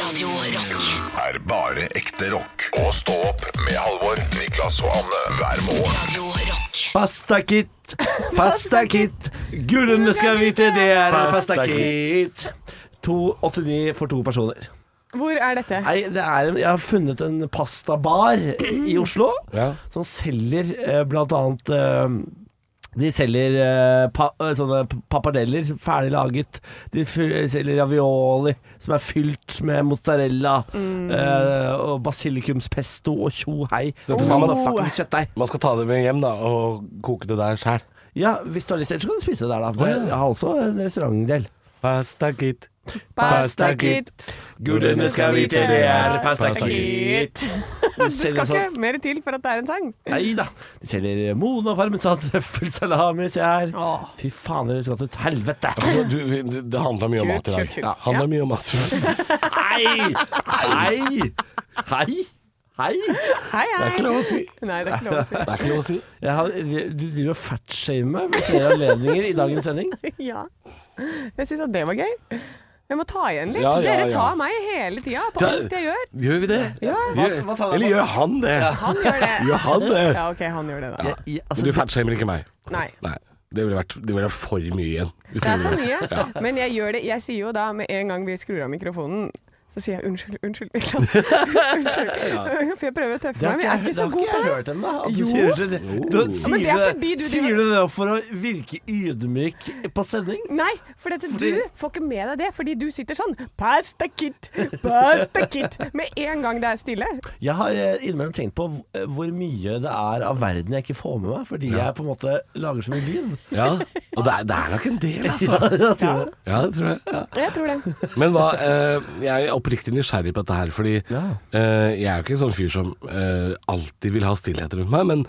Radio Rock. er bare ekte rock. Og stå opp med Halvor, Niklas og Anne hver morgen. Radio Rock. Pastakit, pastakit. Gudene skal vite det er pastakit. 289 for to personer. Hvor er dette? Nei, det er en, jeg har funnet en pastabar i Oslo Ja. som selger eh, blant annet eh, de selger eh, pa, eh, sånne p- pappardeller ferdig laget. De fy- selger ravioli som er fylt med mozzarella eh, og basilikumspesto og tjo hei. Dette skal man- Motherfucking kjøttdeig. Man skal ta det med hjem da og koke det der sjæl. Ja, hvis du har lyst, ellers kan du spise det der, da. For Å, ja. Jeg har også en restaurantdel. Pasta kit. Pasta kit. Gudene skal vite det er pasta kit. De Det skal selger sånn ikke mer til for at det er en sang. Nei da. De selger mona parmesan, trøffelsalami, se her. Åh. Fy faen, dere skal til helvete. Altså, Du, du, du- det handla mye om Kjøp, mat i dag. kjøp, kjøp. Ja, handla mye om mat. Hei! Hei! Hei! Hei! Hei, hei. Det er ikke lov å si. Nei, det er ikke lov å si. Det er ikke lov å si. Jeg har, du driver og fatshamer meg ved flere anledninger i dagens sending. Ja. Jeg syns at det var gøy. Jeg må ta igjen litt. Ja, ja, Dere ja. tar meg hele tida på Ja. alt jeg gjør. Gjør vi det? Ja, Gjør- hva tar han- Eller gjør han det? han gjør det. Gjør han det? Ja, OK, han gjør det, da. Jeg, jeg, Men altså, du fatshamer ikke meg. Nei. Nei. Det ville vært, det ville vært for mye igjen. hvis Det er du for gjorde det. mye. Men jeg gjør det. Jeg sier jo da, med en gang vi skrur av mikrofonen, så sier jeg unnskyld, unnskyld, Niklas. unnskyld. For jeg prøver å tøffe meg, men jeg er ikke så det har god ikke på jeg det. hørt ennå. at Jo. Du sier unnskyld. Jo. Du, men sier, det er det- fordi du driver- sier du det for å virke ydmyk på sending? Nei, for dette, Fordi- du får ikke med deg det, fordi du sitter sånn Pasta kit, pasta kit Med en gang det er stille. Jeg har eh, innimellom tenkt på hv- eh, hvor mye det er av verden jeg ikke får med meg, fordi jeg på en måte lager så mye lyd. Ja, og det er, det er nok en del, altså. Ja, det tror jeg. Jeg tror det. Men hva, eh, jeg er oppriktig nysgjerrig på dette her, fordi Ja. eh, jeg er jo ikke en sånn fyr som eh, alltid vil ha stillhet rundt meg, men,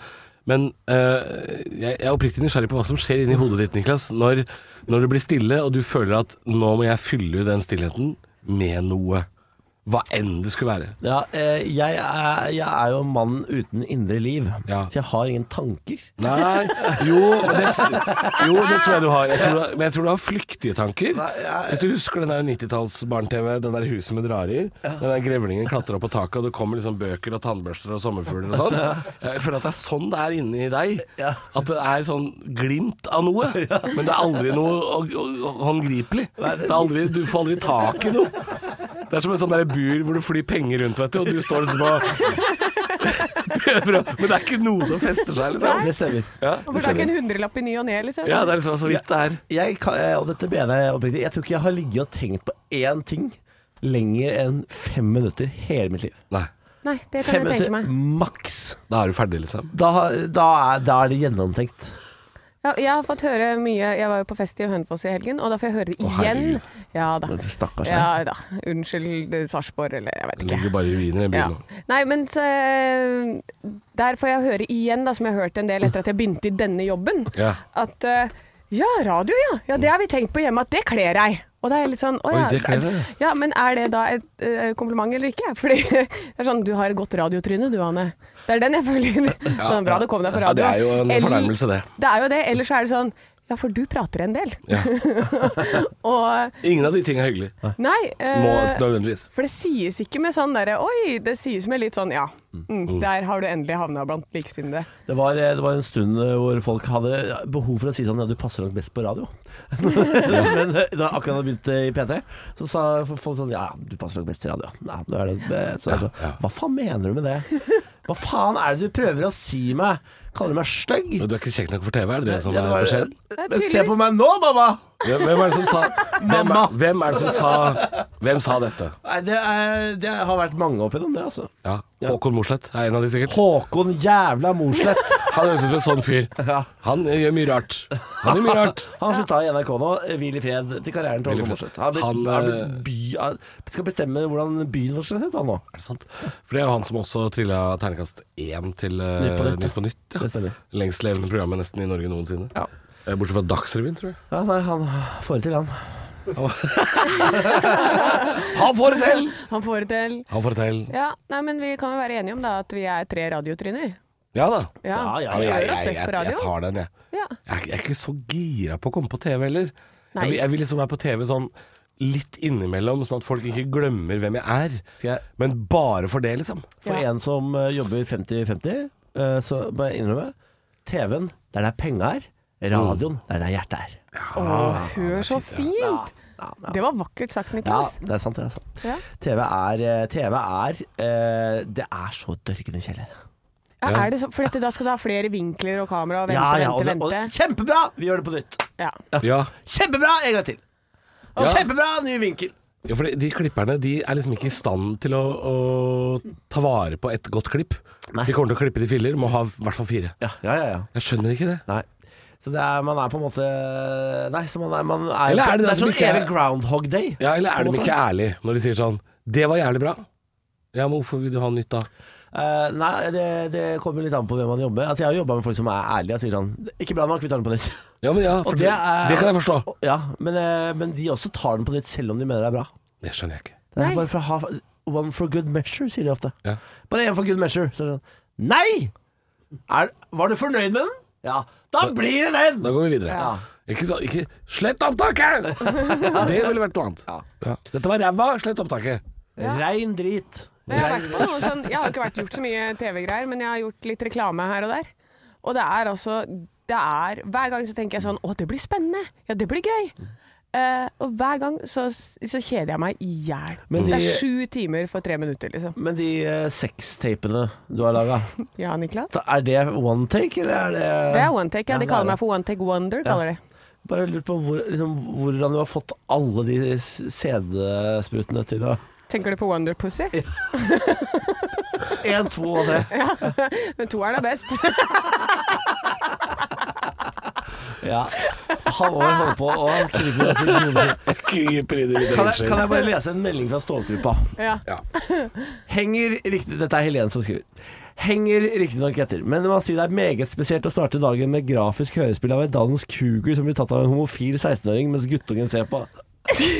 men eh, jeg jeg er oppriktig nysgjerrig på hva som skjer inni hodet ditt, Niklas, når, når det blir stille og du føler at nå må jeg fylle den stillheten med noe. Hva enn det skulle være. Ja, eh, jeg, er, jeg er jo mannen uten indre liv, Ja. så jeg har ingen tanker. Nei Jo, men det, jo, det tror jeg du har. Jeg tror, du har- men jeg tror du har flyktige tanker. Nei, jeg- Hvis du husker den der 90-talls barne-TV, den der huset med drar i. Den der grevlingen klatrer opp på taket, og det kommer liksom bøker og tannbørster og sommerfugler og sånn. Jeg føler at det er sånn det er inni deg. Ja. At det er sånn glimt av noe, men det er aldri noe å- å- håndgripelig. Det er aldri, du får aldri tak i noe. Det er som en sånn der bur hvor du flyr penger rundt, vet du, og du står liksom og prøver å Men det er ikke noe som fester seg, liksom. Det stemmer. Ja, For det er ikke en hundrelapp i ny og ne, liksom. ja, det er liksom så vidt det er. Jeg, kan, eh, og dette mener jeg oppriktig, jeg tror ikke jeg har ligget og tenkt på én ting lenger enn fem minutter hele mitt liv. Nei, Nei, det Fem kan jeg tenke minutter meg. maks. da er du ferdig, liksom. Da, da, er, da er det gjennomtenkt. Ja, jeg har fått høre mye Jeg var jo på fest i Hønefoss i helgen, og da får jeg høre det igjen. herregud. ja da. Stakkars deg. Ja da. Unnskyld eh, Sarpsborg, eller jeg vet Det ikke. ligger bare i ruiner i Ja. byen nå. Nei, men så, eh, der får jeg høre igjen, da, som jeg har hørt en del etter at jeg begynte i denne jobben, Ja. at eh, ja, radio, ja. Ja, det har vi tenkt på hjemme, at det kler deg. Og da er jeg litt sånn, å Oi, ja. det kler deg, ja. Ja, men er det da et eh, kompliment eller ikke? Fordi det er sånn, du har et godt radiotryne, du, Anne. Det er den jeg føler. Sånn, bra du kom deg på Ja, radio. det er jo en Eller- fornærmelse, det. Det er jo det. Ellers så er det sånn, ja, for du prater en del. Ja. Og Ingen av de tingene er hyggelig. nei. eh, Må nødvendigvis. for det sies ikke med sånn derre Oi, det sies med litt sånn ja. Mm, der har du endelig havna blant likesinnede. Det var, eh, det var en stund hvor folk hadde behov for å si sånn Ja, du passer nok best på radio. Men eh, da jeg akkurat hadde begynt i P3, så sa folk sånn Ja, du passer nok best til radio. Nei, da er det, eh, så, jeg Ja, ja. sa, Hva faen mener du med det? Hva faen er det du prøver å si meg? Kaller du meg stygg? Men Du er ikke kjekk nok for TV, er det det som Ja, det er var- eh, beskjeden? Men se på meg nå, mamma! Ja, Hvem er det som sa hvem Mamma. er, hvem er det som sa Hvem sa dette? Nei, det, er, det har vært mange opp gjennom det, altså. Ja. Håkon Mosleth er en av de sikkert. Håkon jævla Mosleth. Han høres ut som en sånn fyr. Ja. Han eh, gjør mye rart. Han gjør mye rart. Han slutta i NRK nå, hvil i fred til karrieren til Hvil i Håkon fred. Mosleth. Han, Han, han, han, eh, blitt by, han skal bestemme hvordan byen vår skal se ut, han nå. Er det sant? For det er jo han som også trilla terningkast én til eh, Nytt på nytt, ja. Nytt på nytt. ja. Det stemmer. Lengst levende programmet nesten i Norge noensinne. Ja. Eh, Bortsett fra Dagsrevyen, tror jeg. Ja, nei, han får det til, han. Han får det til! Han får det til. Han får det til. Ja, nei, men vi kan jo være enige om da at vi er tre radiotryner. Ja da. Ja, Ja, ja, vi ja, gjør oss jeg, best på jeg, jeg radio. tar den, jeg. Ja. Jeg, er ikke- jeg er ikke så gira på å komme på TV heller. Nei. Jeg vil, jeg vil liksom være på TV sånn litt innimellom, sånn at folk ikke glemmer hvem jeg er. Skal jeg Men bare for det, liksom. For Ja. en som eh, jobber 50-50, eh, så må jeg innrømme TV-en, det er der penga er. Radioen, det er der hjertet er. Å, hør så fint! Det var vakkert sagt, Ja, Niklas. det er sant. det er sant Ja. TV er, eh, TV er eh, Det er så dørkende kjeller. Ja, Ja. er det så, for dette, da skal du ha flere vinkler og kamera og vente, og, det- vente, og, vente. kjempebra! Vi gjør det på nytt. Ja. Ja. Kjempebra en gang til. Og kjempebra ny vinkel. Ja, for de, de klipperne de er liksom ikke i stand til å, å ta vare på et godt klipp. Nei. De kommer til å klippe til filler, må ha i hvert fall fire. Ja, ja, ja, ja. Jeg skjønner ikke det. Nei. Så det er, man er på en måte Nei, så man er, man er Eller er det det at er sånn de ikke er- evig groundhog day. Ja, Eller er På en de måte. ikke ærlige når de sier sånn 'Det var jævlig bra'. Ja, men hvorfor vil du ha nytt da? Eh, nei, det, det kommer litt an på hvem man jobber med. Altså, jeg har jobba med folk som er ærlige og sier sånn Ikke bra nok, vi tar den på nytt. Ja, men ja, for Og det, er- det kan jeg forstå. Og- Ja, men, eh, men de også tar den på nytt selv om de mener det er bra. Det skjønner jeg ikke. Det er Nei. bare for å ha One for good measure, sier de ofte. Ja. Bare én for good measure. Så er det sånn Nei! Er, var du fornøyd med den? Ja. Da blir det den! Da går vi videre. Ja. Ikke så, ikke, slett opptaket! Det ville vært noe annet. Ja. Ja. Dette var ræva, slett opptaket. Ja. Rein drit. Men Jeg har, vært på noen sånn, jeg har ikke vært gjort så mye TV-greier, men jeg har gjort litt reklame her og der. Og det er altså det er, Hver gang så tenker jeg sånn Å, det blir spennende! Ja, det blir gøy! Eh, og hver gang så, så kjeder jeg meg i hjel. Men Det er de- sju timer for tre minutter, liksom. Men de eh, sextapene du har laga, Ja, Niklas? er det one take, eller er det Det er one take. Ja, Ja. De det er kaller det. meg for one take wonder. kaller de. Bare lurt på hvor, liksom, hvordan du har fått alle de s- CD-sprutene til å Tenker du på wonder pussy? Én, to og tre. Men toeren er best. Ja. Halvor holder på å krype ned til hodet. Kryper inn i mitt Kan jeg, kan øyeskjegg. jeg bare lese en melding fra Stålgruppa? ja. Ja. Henger riktig Dette er Helen som skriver. Henger riktignok etter, men man sier det er meget spesielt å starte dagen med grafisk hørespill av en dansk cougar som blir tatt av en homofil 16-åring mens guttungen ser på.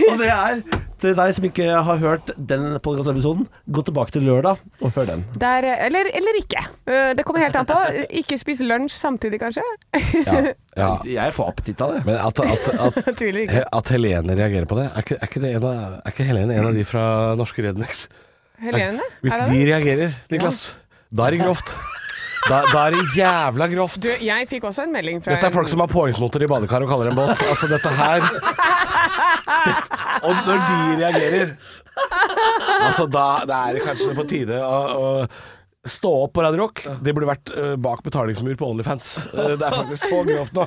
Og det er til deg som ikke har hørt den podkastepisoden, gå tilbake til lørdag og hør den. Det er- eller, eller ikke. Eh, Det kommer helt an på. Ikke spis lunsj samtidig, kanskje. Ja. Ja. Jeg får appetitt av det. Men at, at, at Jeg tviler ikke. He- At Helene reagerer på det? Er ikke, er ikke, det en av, er ikke Helene en av de fra Norske Rednecks? Helene? Hvis Er det de det? reagerer, Niklas, da er det grovt. Da, da er det jævla grovt. Du, jeg fikk også en melding fra Dette er folk som har påhengsmotor i badekar og kaller det en båt. Altså, dette her det, Og når de reagerer Altså, da, da er det kanskje på tide å, å stå opp på Radio Rock. Det burde vært eh, bak betalingsmur på Onlyfans. Eh, det er faktisk så grovt nå.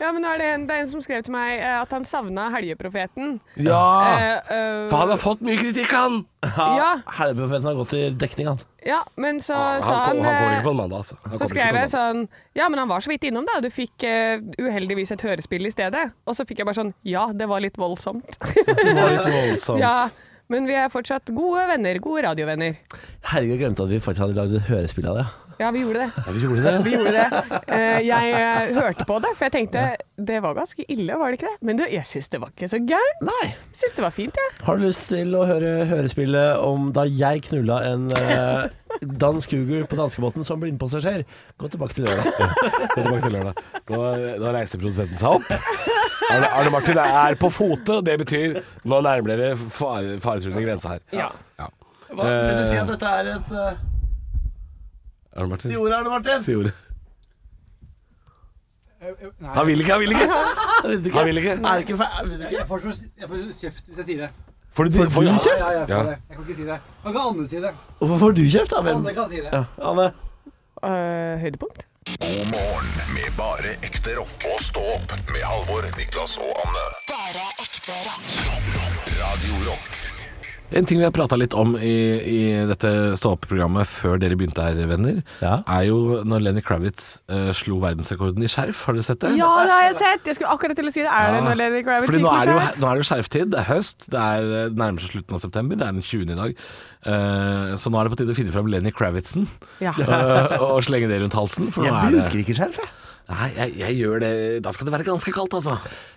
Ja, men nå er det, en, det er en som skrev til meg eh, at han savna Helgeprofeten. Ja! Eh, eh, For han har fått mye kritikk, Ah. han! Ja. Helgeprofeten har gått i dekning, han. ja, men så Ah, Han, sa han, kom, han kommer eh, ikke på en mandag, altså. Han Så kommer ikke på skrev en jeg sånn Ja, men han var så vidt innom, da. Du fikk eh, uheldigvis et hørespill i stedet. Og så fikk jeg bare sånn Ja, det var litt voldsomt. Det var litt voldsomt. ja, men vi er fortsatt gode venner. Gode radiovenner. Herregud, jeg glemte at vi faktisk hadde lagd et hørespill av det. Ja, vi gjorde det. Ja, vi gjorde det. Vi gjorde det. Eh, jeg eh, hørte på det, for jeg tenkte det var ganske ille, var det ikke det? Men du, jeg syns det var ikke så gærent. Nei. Jeg syns det var fint, jeg. Har du lyst til å høre hørespillet om da jeg knulla en eh, dansk cougar på danskebåten som blindpassasjer? Gå tilbake til lørdag. Gå tilbake til lørdag. Nå, nå reiste produsenten seg opp. Arne, Arne Martin er på fote. Det betyr nå nærmer dere fare, faretruende grense her. Ja. Hva, vil du si at dette er et uh, Arne Martin, Si ordet, Arne Martin! si ordet. Han vil ikke, han vil ikke! Vet du ikke? Han vil ikke. Er det ikke for, vet du ikke? Jeg får så jeg får så kjeft hvis jeg sier det. Får du, får, du ja, Ja, ja, jeg Ja. får det. Jeg kan ikke si det. Man kan Anne si det. Hvorfor får du kjeft, da? Hvem? Anne kan si det. Ja, Anne. Eh, høydepunkt? God morgen med bare ekte rock. Og stå opp med Halvor, Niklas og Anne. Bare ekte rock. Radio Rock En ting vi har prata litt om i, i dette stå-opp-programmet før dere begynte her, venner, Ja. er jo når Lenny Kravitz eh, slo verdensrekorden i skjerf. Har dere sett det? Ja, det har jeg sett! Jeg skulle akkurat til å si det. Er det noe Lenny Kravitz Fordi nå er, det jo, liker selv? nå er det jo skjerftid, det er høst, det er eh, nærmer seg slutten av september, det er den 20. i dag. Eh, så nå er det på tide å finne fram Lenny Kravitzen Ja. eh, og slenge det rundt halsen. For nå er det ikke skjerf, jeg. Nei, jeg, jeg gjør det Da skal det være ganske kaldt, altså.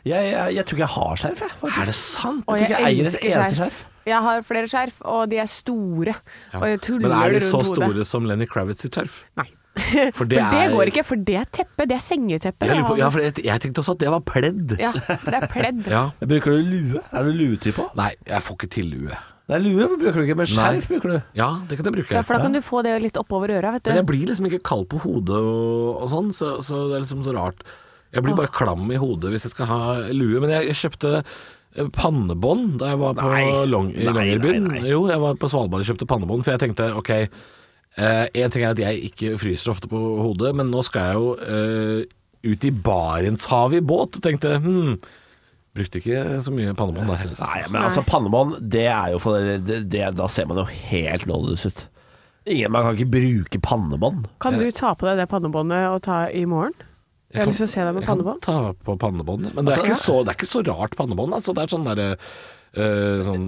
Jeg, jeg, jeg tror ikke jeg har skjerf, jeg. faktisk. Er det sant? Og Jeg tror ikke jeg eier et elsker eneste skjerf. Jeg har flere skjerf, og de er store. Og jeg tuller Men er de rundt så hodet. store som Lenny Kravitz sitt skjerf? Nei. For For det er- går ikke, for det er teppe. Det er sengeteppe. Jeg, lurer på, det ja, har- for jeg, jeg tenkte også at det var pledd. ja, det er pledd. Ja. Bruker du lue? Er du luetype? også? Nei, jeg får ikke tillue. Nei, lue bruker du ikke, men skjerf Nei. bruker du. Ja, det kan jeg bruke. Ja, for da kan du få det litt oppover øra, vet Men du. jeg blir liksom ikke kald på hodet og, og sånn, så, så det er liksom så rart. Jeg blir bare klam i hodet hvis jeg skal ha lue. Men jeg kjøpte eh, pannebånd da jeg var på Nei. Long, i Nei, Longyearbyen. nei, nei. Jo, jeg var på Svalbard og kjøpte pannebånd, for jeg tenkte ok Én ting er at jeg ikke fryser ofte på hodet, men nå skal jeg jo eh, ut i Barentshavet i båt. Tenkte hm, Brukte ikke så mye pannebånd der heller. Nei, men altså pannebånd, det er jo for det, det, Da ser man jo helt nådeløs ut. Ingen, Man kan ikke bruke pannebånd. Kan du ta på deg det pannebåndet og ta i morgen? Jeg har lyst til å se deg med Jeg kan pannebånd. ta på pannebåndet. Men det er, Altså, ikke så, det er ikke så rart pannebånd. Altså, det er sånn derre øh, Sånn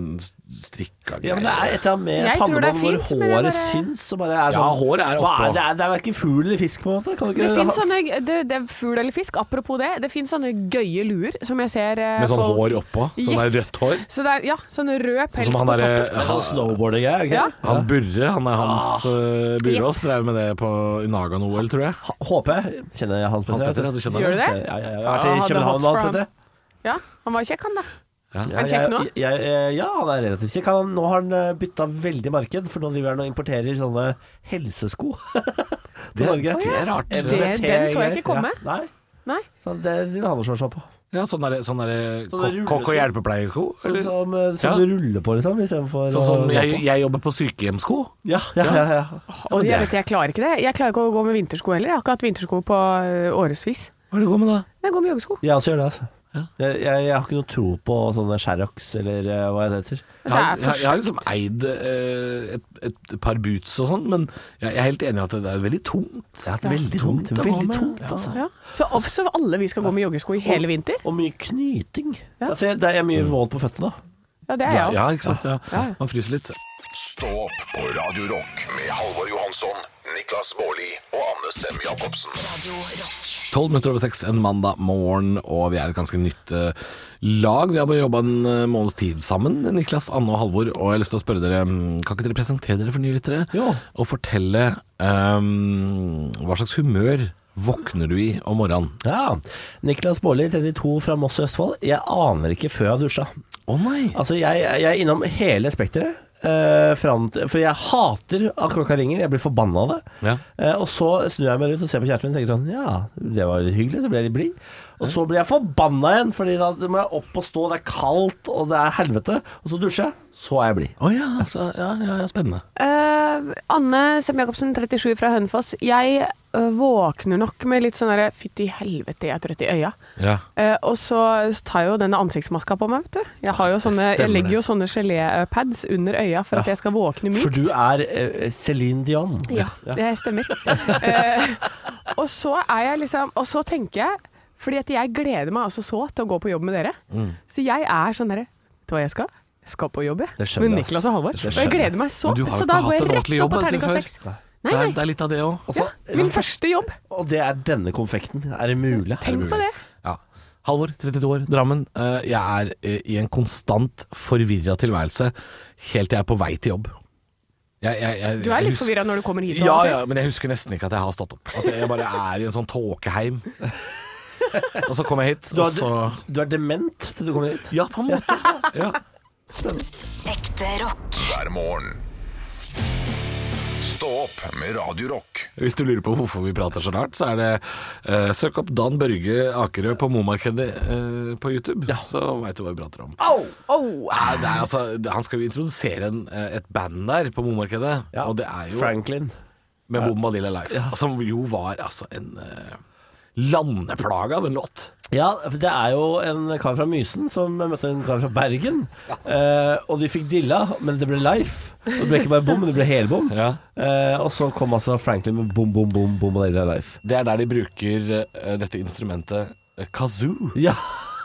strikka Ja, men Det er et eller annet med Jeg tror det er pannebånd hvor fint, men jeg håret bare- syns og bare er Ja, sånn håret er Hva oppå. det, er, det er verken fugl eller fisk, på en måte. Kan du ikke Det ha- finnes sånne det, det er Fugl eller fisk, apropos det. Det finnes sånne gøye luer som jeg ser eh, Med sånn folk- hår oppå. Sånn Yes. der rødt hår. Så det er, ja, sånn rød pels Som på han derre toppen. Det er sånn han, snowboarding-greier, ikke Ja. Ah. det? han Burre, han er Hans øh, Burås, drev med det på Unagan-OL, tror jeg. Ha- HP. Kjenner jeg Hans Hans Petter? Petter, ja, du kjenner Gjør du det? Ja, ja, ja. Jeg har vært i Ja, hadde hots København med for Hans ham. Petter. Ja, han var kjekk, han da. Ja. Ja, Er han kjekk nå? jeg- jeg- jeg- Ja, han er relativt kjekk. Han, nå har han eh, bytta veldig marked, for nå driver han og importerer sånne helsesko til Norge. det er rart. MBT Det- den så jeg ikke komme. Ja, nei. Nei. Så det driver han og slår seg på. Ja, sånn derre sånn der, Sånne kokk- og hjelpepleiersko. Sånn eller? som, eh, som Ja. du ruller på, liksom, istedenfor Sånn å som gå jeg, på. jeg jobber på sykehjemsko. Ja, ja, ja, ja. Og men jeg, vet, det- jeg klarer ikke det. Jeg klarer ikke å gå med vintersko heller. Jeg har ikke hatt vintersko på eh, årevis. Hva er det du går med da? Men Jeg går med joggesko. Jeg også gjør det, altså. Ja. Jeg, jeg, jeg har ikke noe tro på sånne Sherrox eller eh, hva det heter. Jeg har, Det er jeg, jeg har liksom eid eh, et, et par boots og sånn, men jeg jeg er helt enig i at det er veldig tungt. Det er veldig tungt tungt. å gå Veldig med. tungt, Ja. altså. Ja. Så også alle vi skal gå med joggesko i hele vinter? Og mye knyting. Ja. Altså, jeg- det er mye våt på føttene. da. Ja, det er jeg òg. Ja, ikke sant? Ja. Ja, ja. Man fryser litt. Stå opp på Radio Rock med Halvor Johansson, Niklas Baarli og Anne Sem Jacobsen. Radio Rock. 12 minutter over seks en mandag morgen, og vi er et ganske nytt eh, lag. Vi har bare jobba en eh, måneds tid sammen, Niklas, Anne og Halvor. Og jeg har lyst til å spørre dere, mm, kan ikke dere presentere dere for nye lyttere? Ja. Og fortelle ehm, hva slags humør våkner du i om morgenen? Ja. Niklas Baarli, 32 fra Moss i Østfold. Jeg aner ikke før jeg har dusja. Å nei! Altså, jeg, jeg er innom hele spekteret. eh, fram til, for jeg hater at klokka ringer, jeg blir forbanna av det. Ja. Eh, og så snur jeg meg rundt og ser på kjæresten min og tenker sånn Ja, det var litt hyggelig, så ble jeg litt blid. Og så blir jeg forbanna igjen, Fordi da må jeg opp og stå, det er kaldt og det er helvete. Og så dusjer jeg, så er jeg blid. Å ja, altså, ja, ja, ja, spennende. Eh, Anne Sem-Jacobsen, 37 fra Hønefoss. Jeg eh, våkner nok med litt sånn derre Fytti helvete, jeg er trøtt i øya. Ja. Eh, og så tar jeg jo denne ansiktsmaska på meg, vet du. Jeg, har jo sånne, jeg Ah, stemmer legger jo sånne gelépads under øya for at jeg skal våkne mykt. For du er eh, Céline Dion. Ja, det stemmer. Eh, og så er jeg liksom Og så tenker jeg Fordi at jeg gleder meg altså så til å gå på jobb med dere. Mm. Så jeg er sånn derre Vet du hva jeg skal? Jeg skal på jobb, jeg. Det skjønner Med jeg, ass. Niklas og Halvor. Det Og skjønner jeg jeg. gleder meg så. Men du har Så jo da ikke går jeg hatt en rett ordentlig opp jobb, på vet du, terningkast før. seks. Nei. Nei, Det, er, nei. det er litt sånn- av det òg. Og Ja, så- min første jobb. Og det er denne konfekten. Er det mulig? Tenk på det. Ja. Halvor, 32 år, Drammen. Eh, jeg er eh, i en konstant forvirra tilværelse helt til jeg er på vei til jobb. Jeg, jeg, jeg, Du er jeg litt husker- forvirra når du kommer hit. og Ja, alt det. ja, men jeg husker nesten ikke at jeg har stått opp. At jeg bare er i en sånn tåkeheim. Og så kom jeg hit, Du og er, så du er dement til du kommer hit? Ja, på en måte. Ja. Ekte rock. hver morgen. Stå opp med Radio Rock. Hvis du lurer på hvorfor vi prater så rart, så er det eh, Søk opp Dan Børge Akerø på Momarkedet eh, på YouTube, så veit du hva vi prater om. Au! Au, au. Nei, det er altså, han skal jo introdusere en, eh, et band der på Momarkedet, Ja. og det er jo Franklin. med Bombadilla Life, som jo var altså en eh, landeplage av en låt. Ja, for det er jo en kar fra Mysen som møtte en kar fra Bergen. Eh, og de fikk dilla, men det ble life. Og Det ble ikke bare bom, men det ble helbom. Ja. Eh, og så kom altså Franklin med bom, bom, bom, bom og dilla life. Det er der de bruker eh, dette instrumentet eh, kazoo. Ja,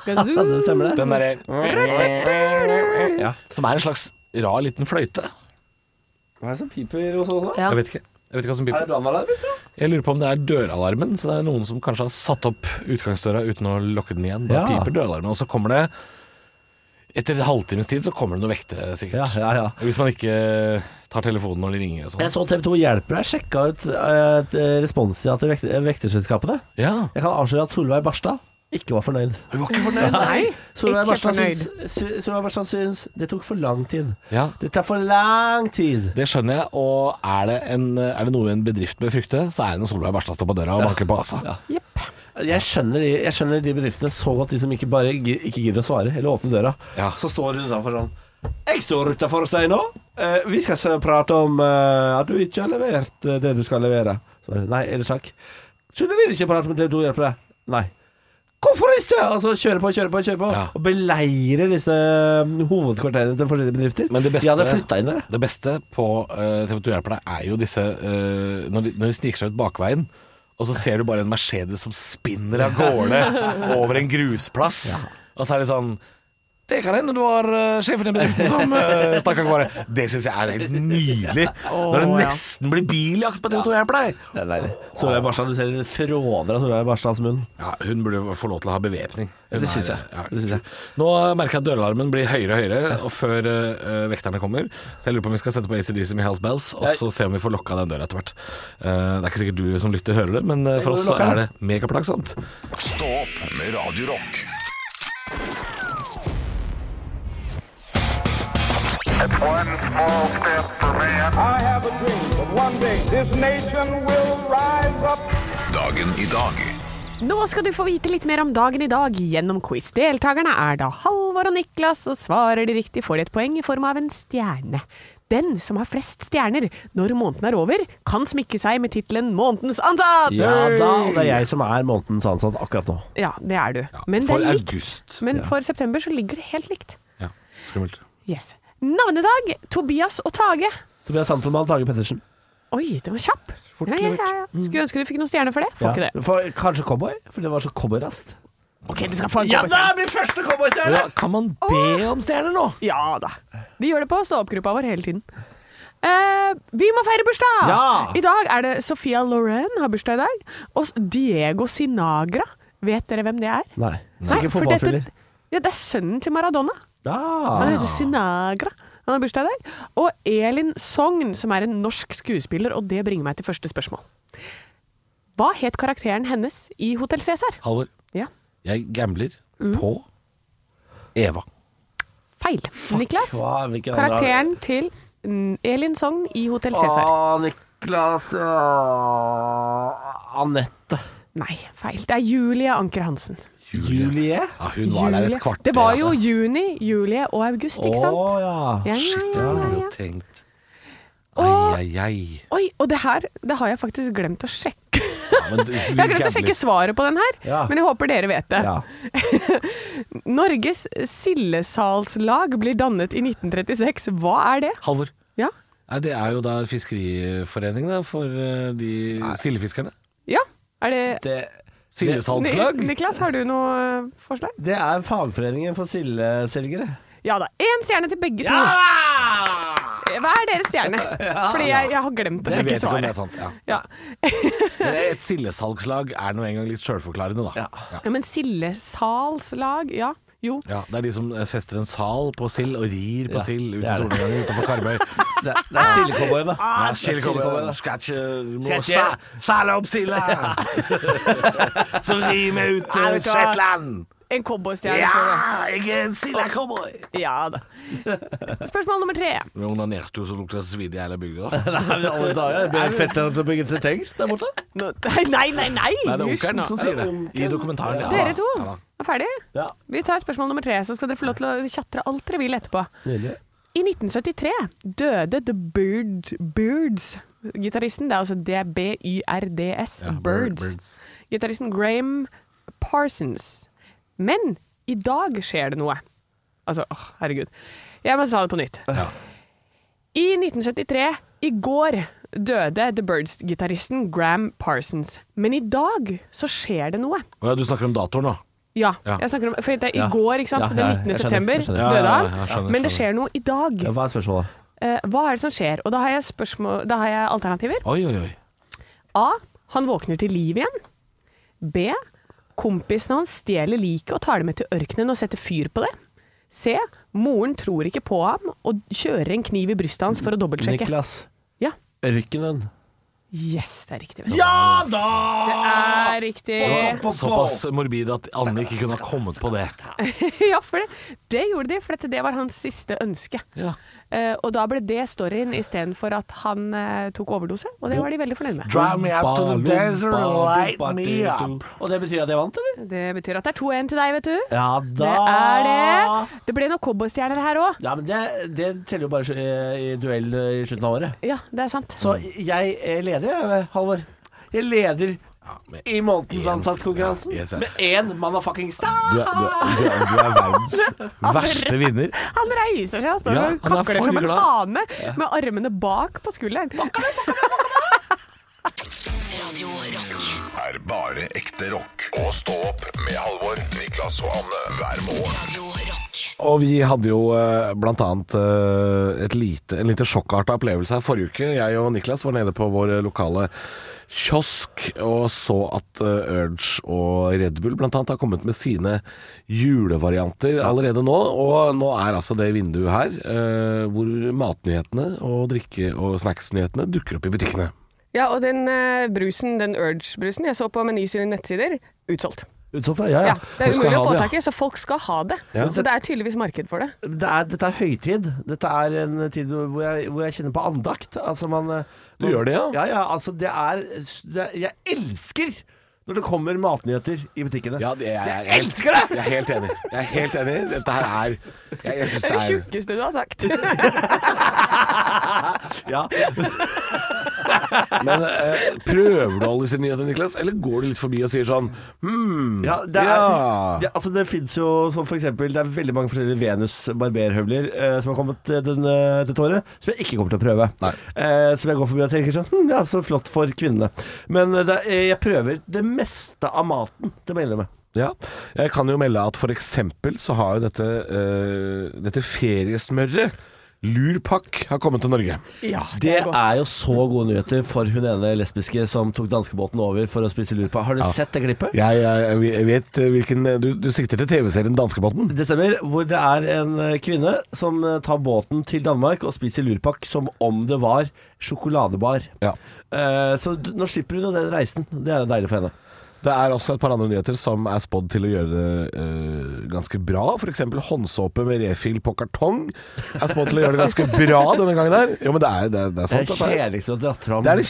Gazoo. det stemmer det. Den derre Ja. Som er en slags rar liten fløyte. Hva er det som piper hos oss nå? Ja. Jeg vet ikke. Jeg vet ikke hva som Er det piper. brannalarm? Jeg lurer på om det er døralarmen. Så det er noen som kanskje har satt opp utgangsdøra uten å lukke den igjen. Ja. Da piper døralarmen, og så kommer det Etter en halvtimes tid så kommer det noen vektere, sikkert. Ja, ja, ja. Hvis man ikke tar telefonen når de ringer og Jeg sånn. så TV 2 hjelper deg. Sjekka ut eh, et- responstida til vekt vekterselskapene. Ja. Jeg kan avsløre at Solveig Barstad ikke var fornøyd. Hun var ikke fornøyd. Nei, Solveig ikke Barstad fornøyd. syns- sy- Solveig Barstad syns det tok for lang tid. Ja. Det tar for lang tid. Det skjønner jeg, og er det, en, er det noe en bedrift bør frykte, så er det når Solveig Barstad står på døra og banker på altså. ASA. Jeg skjønner, de, jeg skjønner de bedriftene så godt, de som ikke bare gi- ikke gidder å svare eller åpne døra. Ja. Så står hun utenfor sånn Jeg står utafor og sier nå. Eh, vi skal se- prate om eh, at du ikke har levert eh, det du skal levere. Så bare, Nei, er det sjakk? Skjønner vi ikke prate med TV 2 hjelper deg? Nei. Hvorfor ikke? Altså kjøre på, kjøre på, kjøre på. Ja. Og beleire disse mm, hovedkvarterene til forskjellige bedrifter. Men det beste- De hadde flytta inn der. Det beste på eh, TV 2 Hjelper deg er jo disse eh, når, de, når de sniker seg ut bakveien, og så ser du bare en Mercedes som spinner av gårde over en grusplass. Og så er det sånn det kan hende du var eh, sjefen i bedriften som eh, stakk av gårde. Det syns jeg er helt nydelig. Når det Åh, ja. nesten blir biljakt på TV 2 Hjelper deg. Det er deilig. Solveig Barstad, du ser det fråder av Solveig Barstads munn. Ja, hun burde jo få lov til å ha bevæpning. Hun Det syns er- jeg. ja. Det syns jeg. Nå merker jeg at døralarmen blir høyere og høyere og før eh, vekterne kommer. Så jeg lurer på om vi skal sette på ACDC med Hells Bells, og så se om vi får lokka den døra etter hvert. Eh, det er ikke sikkert du som lytter hører det, men eh, for må oss du så lokke er det den. megaplagsomt. Stå opp med Radio Rock. One small step for man. I have a dream that one day this nation will rise up. Dagen i dag. Nå skal du få vite litt mer om dagen i dag gjennom quiz. Deltakerne er da Halvor og Niklas, og svarer de riktig får de et poeng i form av en stjerne. Den som har flest stjerner når måneden er over, kan smykke seg med tittelen 'Månedens ansatt'! Ja da, og det er jeg som er månedens ansatt akkurat nå. Ja, det er du. Men, for det er likt. august. Men for september så ligger det helt likt. Ja, skummelt. Yes. Navnedag Tobias og Tage. Tobias Santelmann, Tage Pettersen. Oi, den var kjapp. Ja, ja, ja. Skulle ønske du fikk noen stjerner for det. Får Mm. Ja. ikke det. For, kanskje cowboy, for det var så cowboyrast. Ok, du skal få en Ja kompis. da, min første cowboystjerne! Ja, kan man be om stjerner nå? Ja da. Vi gjør det på stå-opp-gruppa vår hele tiden. Eh, vi må feire bursdag! Ja! I dag er det Sophia Loren har bursdag i dag. Og s- Diego Sinagra. Vet dere hvem det er? Nei, Nei, sikkert for dette- fotballspiller. Ah. Ja, det er sønnen til Maradona. Han Ja. heter Sinagra. Han har bursdag i dag. Og Elin Sogn, som er en norsk skuespiller. Og det bringer meg til første spørsmål. Hva het karakteren hennes i Hotell Cæsar? Halvor, Ja. jeg gambler Mm. på Eva. Feil. Niklas. hva, hvilken andre har- Karakteren til mm, Elin Sogn i Hotell Cæsar. Å, Niklas Å, Anette. Nei, feil. Det er Julie Anker Hansen. Julie? Ja, hun var der Julie. et kvarter. det var jo altså. juni, julie og august, ikke sant? Å ja. ja, ja, Shit, det ja, var ja, jo ja. tenkt. Og- Ai, ai, ai. Oi, og det her det har jeg faktisk glemt å sjekke. men du- jeg har glemt å sjekke svaret på den her, Ja. men jeg håper dere vet det. ja. Norges sildesalslag blir dannet i 1936. Hva er det? Halvor. Ja? Nei, Det er jo da Fiskeriforeningen da, for eh, de sildefiskerne. Ja? Er det Det, Ni- Sildesalgslag. Niklas, har du noe eh, forslag? det er fagforeningen for sildeselgere. Ja da. Én stjerne til begge to. Hver deres stjerne. Fordi jeg, jeg har glemt å Ah! Jeg sjekke vet ikke om det er svaret. sant. Ja. Ja. Men et sildesalgslag er nå engang litt sjølforklarende, da. Ja. Ja, men sildesalslag, ja. Jo. Ja, det er de som eh, fester en sal på sild og rir på Ja, sild ut det i er det. solnedgangen utenfor Karmøy. Det, det er sildecowboyen, da. Ja, det er sild Ah, kommer, sildecowboy, da. skal ikke du må Skal ikke- sa- Sæle opp silda! Så rir vi ut Ja, til vet du hva? Shetland! En cowboystjerne. Ja, for det. jeg er en sildecowboy! Ja da. Spørsmål nummer tre. Onanerte jo så lukta svidd i hele bygda. Nei, men alle dager. Det blir fett å bygge til tanks der borte. Nå- Nei, nei, nei! nei. Nei, det er Hysj onkelen nå. som sier det. I dokumentaren. ja. Dere to er ferdig. Ja. Vi tar spørsmål nummer tre, så skal dere få lov til å tjatre alt dere vil etterpå. Nydelig. I 1973 døde The Bird, Birds. Gitaristen, det er altså D-B-Y-R-D-S, Ja, Bird- Birds. Birds. Gitaristen Graham Parsons. Men i dag skjer det noe. Altså, åh, herregud. Jeg må ta det på nytt. Ja. I 1973, i går, døde The Birds-gitaristen Graham Parsons. Men i dag så skjer det noe. Å ja, du snakker om datoren nå? Ja, Ja. jeg snakker om For det er i Ja. går, ikke sant? Ja, ja, Den jeg 19. skjønner, september jeg skjønner. Ja, døde ja, han. ja, jeg skjønner, Men det skjønner. skjer noe i dag. Ja, Hva er spørsmålet? Eh, hva er det som skjer? Og da har jeg, spørsmål, da har jeg alternativer. Oi, oi, oi. A. Han våkner til liv igjen. B. Kompisen hans stjeler liket og tar det med til ørkenen og setter fyr på det. C. Moren tror ikke på ham og kjører en kniv i brystet hans for å dobbeltsjekke. Niklas. Ja. Ørkenen. Yes, det er riktig. vet du. Ja da! Det er riktig. Såpass morbid at Anne ikke kunne ha kommet på det. Ja, for det, det gjorde de, for dette, det var hans siste ønske. Ja. Eh, og da ble det storyen istedenfor at han eh, tok overdose, og det var de veldig fornøyd med. Drive me up to the desert and light me up. Og det betyr at jeg vant, eller? Det betyr at det er 2-1 til deg, vet du. Ja Det da. er det. Det ble noen cowboystjerner her òg. Ja, men det, det teller jo bare i, i duell eh, i slutten av året. Ja, det er sant. Så jeg eh, leder, jeg, Halvor. Jeg leder i månedens ansattkonkurransen. ja, yes, ja. Med én motherfucking star! Du er, du, er, du, er, du er verdens verste vinner. Han reiser seg og står Ja, og han er kakler som en forglad. hane med armene bak på skulderen. Radio Rock. er bare ekte rock. Og stå opp med Halvor, Niklas og Anne hver morgen. Radio Rock. Og vi hadde jo eh, blant annet eh, et lite, en lite sjokkarta opplevelse her forrige uke. Jeg og Niklas var nede på vår eh, lokale kiosk og så at eh, Urge og Red Bull blant annet har kommet med sine julevarianter allerede nå. Og nå er altså det vinduet her eh, hvor matnyhetene og drikke- og snacksnyhetene dukker opp i butikkene. Ja, og den eh, brusen, den Urge-brusen jeg så på Meny sine nettsider, utsolgt. Utsolgt, ja, ja. Ja, det er Folk skal umulig å ha få det, ja. tak i, så folk skal ha det. Så det er tydeligvis marked for det. det er, dette er høytid. Dette er en tid hvor jeg, hvor jeg kjenner på andakt. Altså man, Du man- gjør det, ja? Ja, ja altså det er, det er Jeg elsker når det kommer matnyheter i butikkene. Ja, det er, jeg, jeg elsker det! Jeg er helt enig. Jeg er helt enig. Dette her er jeg, jeg Det er synes det det er tjukkeste du har sagt. Ja. Men eh, prøver du alle disse nyhetene, Niklas? Eller går du litt forbi og sier sånn hmm, Ja, det, er, Ja. det, altså det finnes jo som for eksempel Det er veldig mange forskjellige Venus barberhøvler eh, som har kommet eh, den, eh, dette året, som jeg ikke kommer til å prøve. Nei. Eh, som jeg går forbi og tenker sånn hm, Ja, så flott for kvinnene. Men eh, det, er- jeg prøver det meste av maten, det må jeg innrømme. Ja. Jeg kan jo melde at for eksempel så har jo dette, eh, dette feriesmøret Lurpakk har kommet til Norge. Ja, Det er jo så gode nyheter for hun ene lesbiske som tok danskebåten over for å spise lurpa. Har du sett det klippet? Jeg, jeg, jeg vet hvilken Du, du sikter til TV-serien Danskebåten? Det stemmer. Hvor det er en eh, kvinne som eh, tar båten til Danmark og spiser lurpakk som om det var sjokoladebar. Ja. Eh, så d- nå slipper hun jo den reisen. Det er jo deilig for henne. Det er også et par andre nyheter som er spådd til å gjøre det eh, ganske bra. F.eks. håndsåpe med refill på kartong er spådd til å gjøre det ganske bra denne gangen her. Jo, men det er, det, er- det er Det sant. er dette her. kjedeligst å dra fram. Det er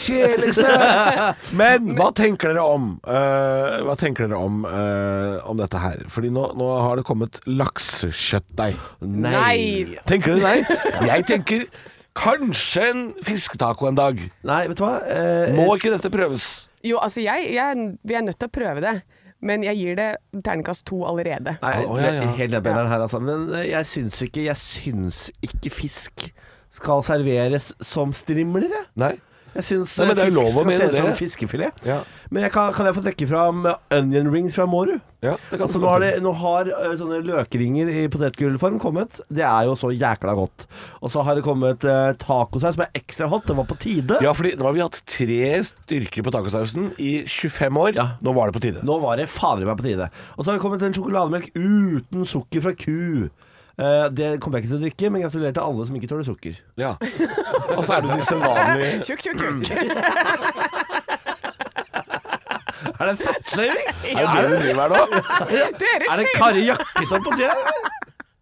det kjedeligste! Men hva tenker dere om eh, Hva tenker dere om, eh, om dette her? Fordi nå, nå har det kommet laksekjøttdeig. Nei. Nei. Tenker dere nei? Jeg tenker kanskje en fisketaco en dag. Nei, vet du hva? Eh, Må ikke dette prøves? Jo, altså jeg, jeg Vi er nødt til å prøve det, men jeg gir det terningkast to allerede. Nei, Å, å, ja, ja. helt ned på hendene her, altså. Men eh, jeg syns ikke, jeg syns ikke fisk skal serveres som strimler, jeg. Nei. Jeg syns Nei, men det er fisk lov å skal mene se ut som det. fiskefilet. Ja. Men jeg kan, kan jeg få trekke fram eh, onion rings fra Mårud? Ja, det kan Altså, du nå har, godt. det, nå har eh, sånne løkringer i potetgullform kommet. Det er jo så jækla godt. Og så har det kommet uh, tacosaus som er ekstra hot. Det var på tide. Ja, fordi nå har vi hatt tre styrker på tacosausen i 25 år. Ja. Nå var det på tide. Nå var det fader meg på tide. Og så har det kommet en sjokolademelk uten sukker fra ku. Eh, det kommer jeg ikke til å drikke, men gratulerer til alle som ikke tåler sukker. Ja. Og så er det disse vanlige Tjukk, tjukk, tjukk. Er det fattshaming? Er det det du driver med her nå? Dere Er det shaver- Kari Jakkesson på tida?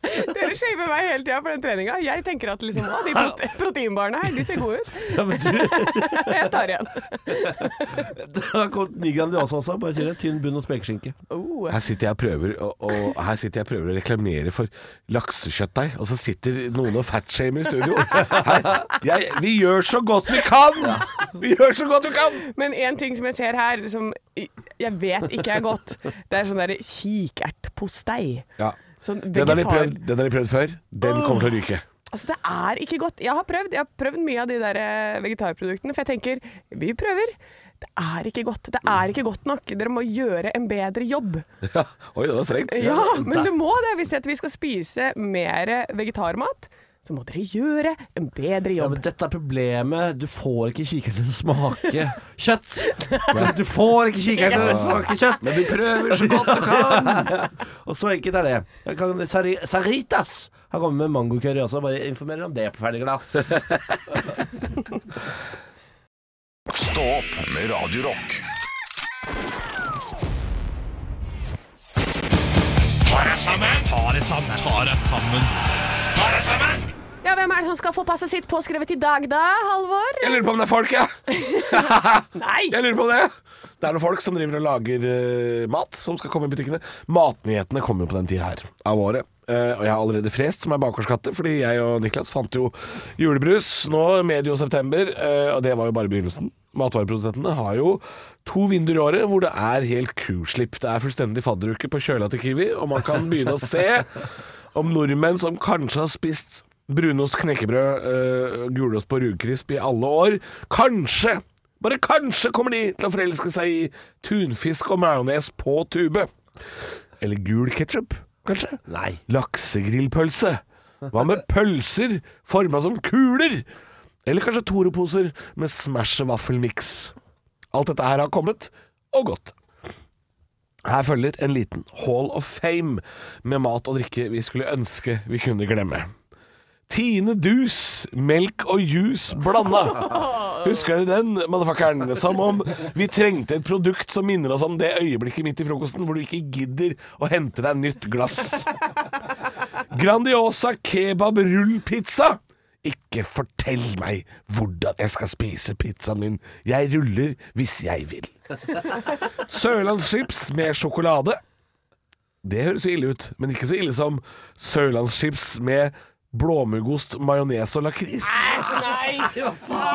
dere shaver meg hele tida for den treninga. Jeg tenker at liksom, å, de prote proteinbarene her, de ser gode ut. Jeg tar igjen. Det har kommet ny Grandiosa også. Bare sier det. Tynn bunn og spekeskinke. Oh. Her sitter jeg og prøver, og, og her sitter jeg og prøver å reklamere for laksekjøttdeig, og så sitter noen og fatshamer i studio. Her, jeg, vi gjør så godt vi kan! Vi gjør så godt vi kan! Men en ting som jeg ser her, som jeg vet ikke er godt, det er sånn derre kikertpostei. Sånn Den har, de vegetar... prøvd, den har de prøvd før. Den kommer til å ryke. Altså, det er ikke godt. Jeg har prøvd, jeg har prøvd mye av de der eh, vegetarproduktene, for jeg tenker vi prøver. Det er ikke godt. Det er ikke godt nok. Dere må gjøre en bedre jobb. Ja. Oi, det var strengt. Ja, men du må det. Hvis det at vi skal spise mer vegetarmat, så må dere gjøre en bedre Ja, jobb. men dette er problemet. Du får ikke kikkerten til å smake kjøtt. Du får ikke kikkerten til å smake kjøtt. Men du prøver så godt du kan. Og så enkelt er det. Jeg kan, Sari- Saritas har kommet med mangocurry også. Bare informerer om det på ferdig glass. Stå opp med Radio Rock. Ja, Hvem er det som skal få passet sitt påskrevet i dag, da, Halvor? Jeg lurer på om det er folk, jeg! Nei! Jeg lurer på det! Det er noen folk som driver og lager eh, mat som skal komme i butikkene. Matnyhetene kommer jo på den tida her av året. Eh, og jeg har allerede frest som er bakgårdskatte, fordi jeg og Niklas fant jo julebrus nå medio september, eh, og det var jo bare begynnelsen. Matvareprodusentene har jo to vinduer i året hvor det er helt kuslipp. Det er fullstendig fadderuke på kjøla til Kiwi, og man kan begynne å se om nordmenn som kanskje har spist brunost, knekkebrød, øh, gulost på rugkrisp i alle år, kanskje, bare kanskje kommer de til å forelske seg i tunfisk og majones på tube. Eller gul ketsjup, kanskje? Nei. Laksegrillpølse. Hva med pølser forma som kuler? Eller kanskje Toro-poser med Smash vaffelmix. Alt dette her har kommet, og gått. Her følger en liten Hall of Fame med mat og drikke vi skulle ønske vi kunne glemme. Tine Dus, melk og juice blanda. Husker dere den, motherfuckeren? Som om vi trengte et produkt som minner oss om det øyeblikket midt i frokosten hvor du ikke gidder å hente deg nytt glass. Grandiosa kebab rullpizza. Ikke fortell meg hvordan jeg skal spise pizzaen min. Jeg ruller hvis jeg vil. Sørlandschips med sjokolade. Det høres jo ille ut, men ikke så ille som sørlandschips med blåmuggost, majones og lakris.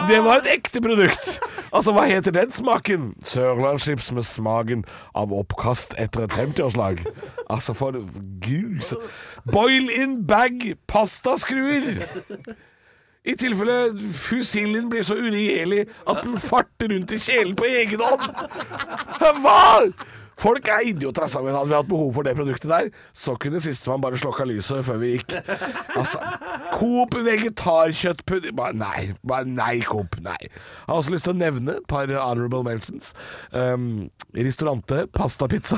Det var et ekte produkt. Altså, hva heter den smaken? Sørlandschips med smaken av oppkast etter et 50-årslag. Altså, for gud så- Boil in bag pastaskruer! I tilfelle fusillen blir så uregjerlig at den farter rundt i kjelen på egen hånd. Hva?! Folk er idioter, altså. Men hadde vi hatt behov for det produktet der, så kunne sistemann bare slokka lyset før vi gikk. Altså, Coop vegetarkjøttpudding Bare Nei, bare nei, Coop. Nei. Jeg har også lyst til å nevne et par honorable mentions. Um, Restaurante pastapizza.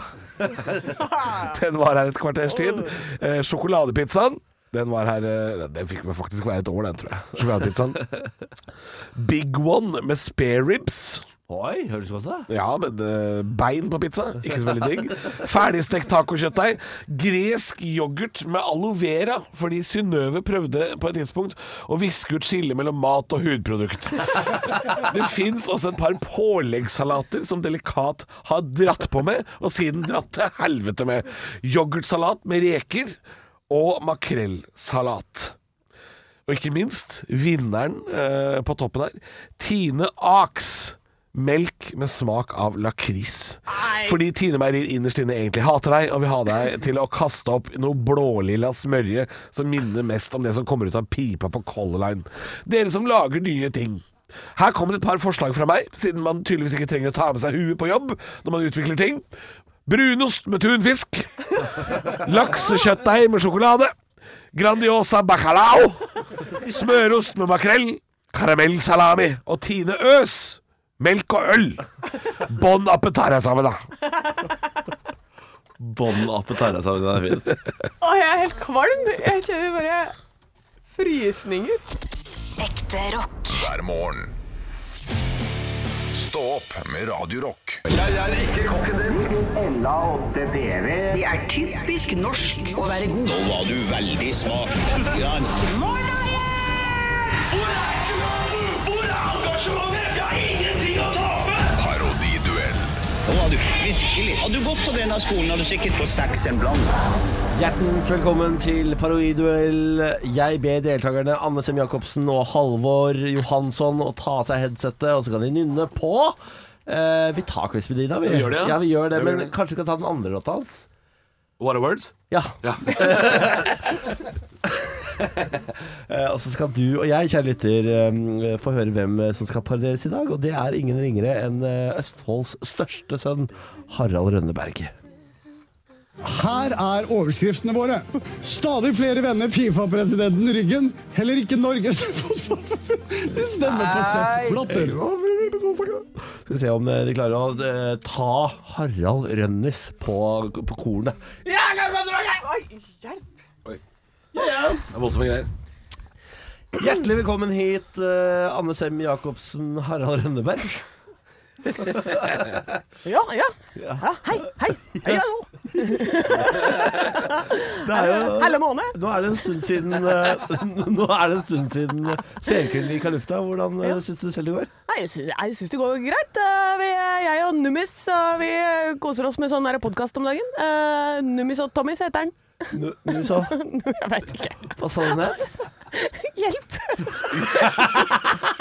Den var her et kvarters tid. Eh, sjokoladepizzaen. Den var her eh, Den fikk vel faktisk være et år, den, tror jeg. Sjokoladepizzaen. Big one med spareribs. Oi, høres godt ut. da. Ja, men eh, bein på pizza, ikke så veldig digg. Ferdigstekt tacokjøttdeig. Gresk yoghurt med aloe vera, fordi Synnøve prøvde på et tidspunkt å viske ut skillet mellom mat og hudprodukt. Det fins også et par påleggssalater som Delikat har dratt på med, og siden dratt til helvete med. Yoghurtsalat med reker og makrellsalat. Og ikke minst vinneren eh, på toppen her, Tine Aks. Melk med smak av lakris. Fordi Tine Meierier innerst inne egentlig hater deg og vil ha deg til å kaste opp noe blålilla smørje som minner mest om det som kommer ut av pipa på Color Line. Dere som lager nye ting. Her kommer et par forslag fra meg, siden man tydeligvis ikke trenger å ta med seg huet på jobb når man utvikler ting. Brunost med tunfisk. Laksekjøttdeig med sjokolade. Grandiosa bacalao. Smørost med makrell. Karamellsalami og Tine Øs. Melk og øl. Bon appetare sammen, da. Bånn appetittsalmen er fin. Å, jeg er helt kvalm. Jeg kjenner bare frysninger. Ekte rock. hver morgen. Stå opp med Radio Rock. Det E er typisk norsk å være god. Nå var du veldig smak. Hvor er engasjementet? Jeg har ingenting å tape! Parodiduell Nå var du virkelig. Hadde du gått på denne skolen, hadde du sikkert fått seks en blant. Hjertens velkommen til Parodiduell. Jeg ber deltakerne Anne Sem Jacobsen og Halvor Johansson å ta av seg headsetet, og så kan de nynne på. Eh, vi tar Chris Medina, vi. Vi gjør det, ja. ja. vi gjør Ja, det, vi gjør men det. kanskje vi kan ta den andre låta hans? What are words? Ja. Ja. Eh, og så skal du og jeg, kjære lytter, eh, få høre hvem eh, som skal parodieres i dag. Og det er ingen ringere enn eh, Østfolds største sønn, Harald Rønneberg. Her er overskriftene våre. Stadig flere vender Fifa-presidenten ryggen. Heller ikke Norges fotballforbund vil stemme på Sepp Blatter. sånn Skal vi se om eh, de klarer å eh, ta Harald Rønnes på, på kornet. Det er voldsomme greier. Hjertelig velkommen hit, eh, Anne Sem Jacobsen, Harald Rønneberg. Ja, ja. ja hei, hei. Hei, hallo. Det er jo Hallo, måne. Nå er det en stund siden eh, Nå er det en stund siden senkvelden gikk av lufta. Hvordan ja. syns du selv det går? Nei, jeg syns, jeg syns det går greit. Eh, Vi, jeg og Nummis eh, vi koser oss med sånn podkast om dagen. Eh, Nummis og Tommis heter den. Nu, nu så, Jeg veit ikke. hva sa du ned? Hjelp!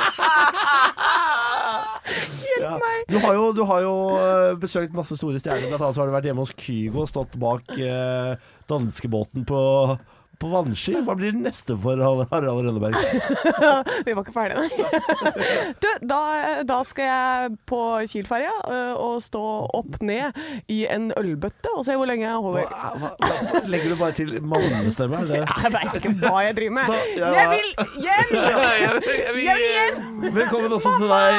Ja. Hjelp meg! Du har jo, du har jo eh, besøkt masse store stjerner. Blant annet så har du vært hjemme hos Kygo og stått bak eh, danskebåten på, på vannski. Hva blir det neste for Har- Harald Rønneberg? Vi var ikke ferdige, nei. Du, da, eh, da skal jeg på Kiel-ferja eh, og stå opp ned i en ølbøtte og se hvor lenge jeg Hva, holder. hva, hva, legger du bare til mannestemme? Er det? Jeg veit ikke hva jeg driver med. Hva- ja. Jeg vil hjem! Jeg vil hjem! Velkommen også til deg,